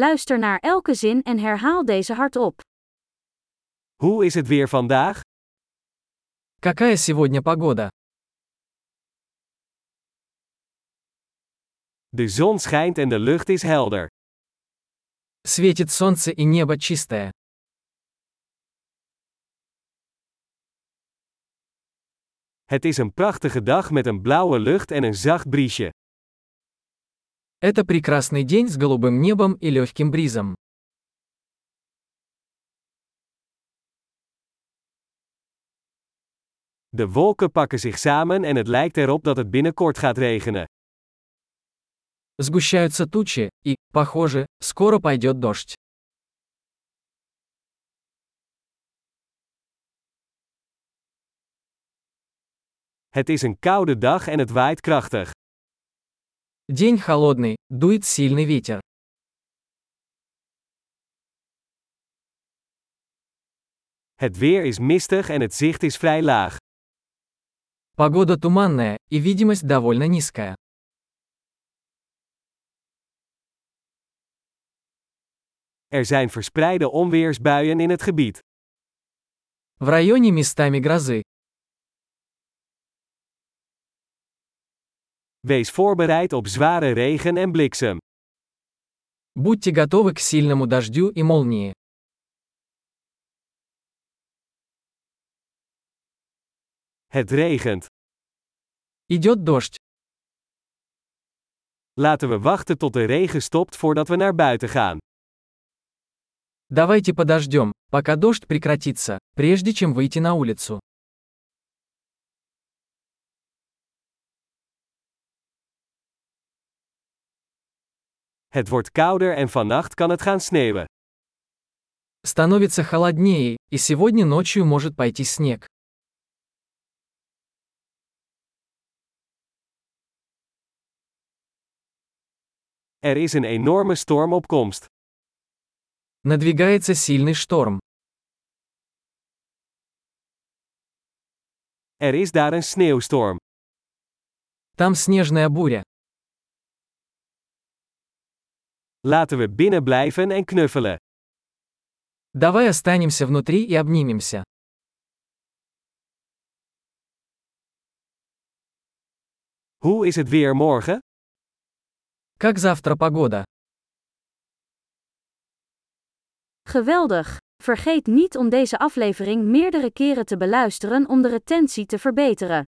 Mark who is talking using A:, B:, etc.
A: Luister naar elke zin en herhaal deze hardop.
B: Hoe is het weer vandaag?
C: Какая сегодня погода?
B: De zon schijnt en de lucht is helder.
C: Светит солнце и небо чистое.
B: Het is een prachtige dag met een blauwe lucht en een zacht briesje.
C: Это прекрасный день с голубым небом и легким бризом.
B: De wolken pakken zich samen en het lijkt erop dat het binnenkort gaat regenen.
C: Сгущаются тучи, и, похоже, скоро пойдет дождь.
B: Het is een koude dag en het waait krachtig.
C: День холодный, дует сильный ветер.
B: Het weer is mistig en het zicht is vrij laag.
C: Погода туманная, и видимость довольно низкая.
B: Er zijn verspreide onweersbuien in het gebied.
C: В районе местами грозы.
B: Wees voorbereid op zware regen en bliksem.
C: Будьте готовы к сильному дождю и молнии.
B: Het regent.
C: Идет дождь.
B: Laten we wachten tot de regen stopt voordat we naar buiten gaan.
C: Давайте подождем, пока дождь прекратится, прежде чем выйти на улицу.
B: Het wordt kouder en vannacht kan het gaan sneeuwen.
C: Становится холоднее, и сегодня ночью может пойти снег.
B: Er is een enorme storm op komst.
C: Надвигается сильный шторм.
B: Er is daar een sneeuwstorm.
C: Там снежная буря.
B: Laten we binnen blijven en knuffelen.
C: Давай останемся внутри и обнимемся.
B: Hoe is het weer morgen?
C: Как завтра погода?
A: Geweldig! Vergeet niet om deze aflevering meerdere keren te beluisteren om de retentie te verbeteren.